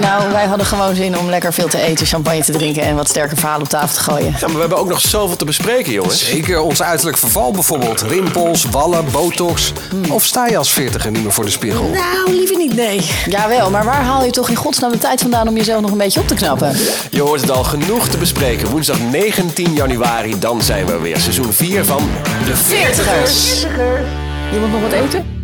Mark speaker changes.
Speaker 1: Nou, wij hadden gewoon zin om lekker veel te eten, champagne te drinken en wat sterke verhalen op tafel te gooien.
Speaker 2: Ja, maar we hebben ook nog zoveel te bespreken, jongens.
Speaker 3: Zeker ons uiterlijk verval bijvoorbeeld. Rimpels, wallen, botox. Of sta je als veertiger niet meer voor de spiegel?
Speaker 1: Nou, liever niet, nee. Jawel, maar waar haal je toch in godsnaam de tijd vandaan om jezelf nog een beetje op te knappen?
Speaker 2: Je hoort het al genoeg te bespreken. Woensdag 19 januari, dan zijn we weer. Seizoen 4 van De Veertigers.
Speaker 1: Je moet nog wat eten?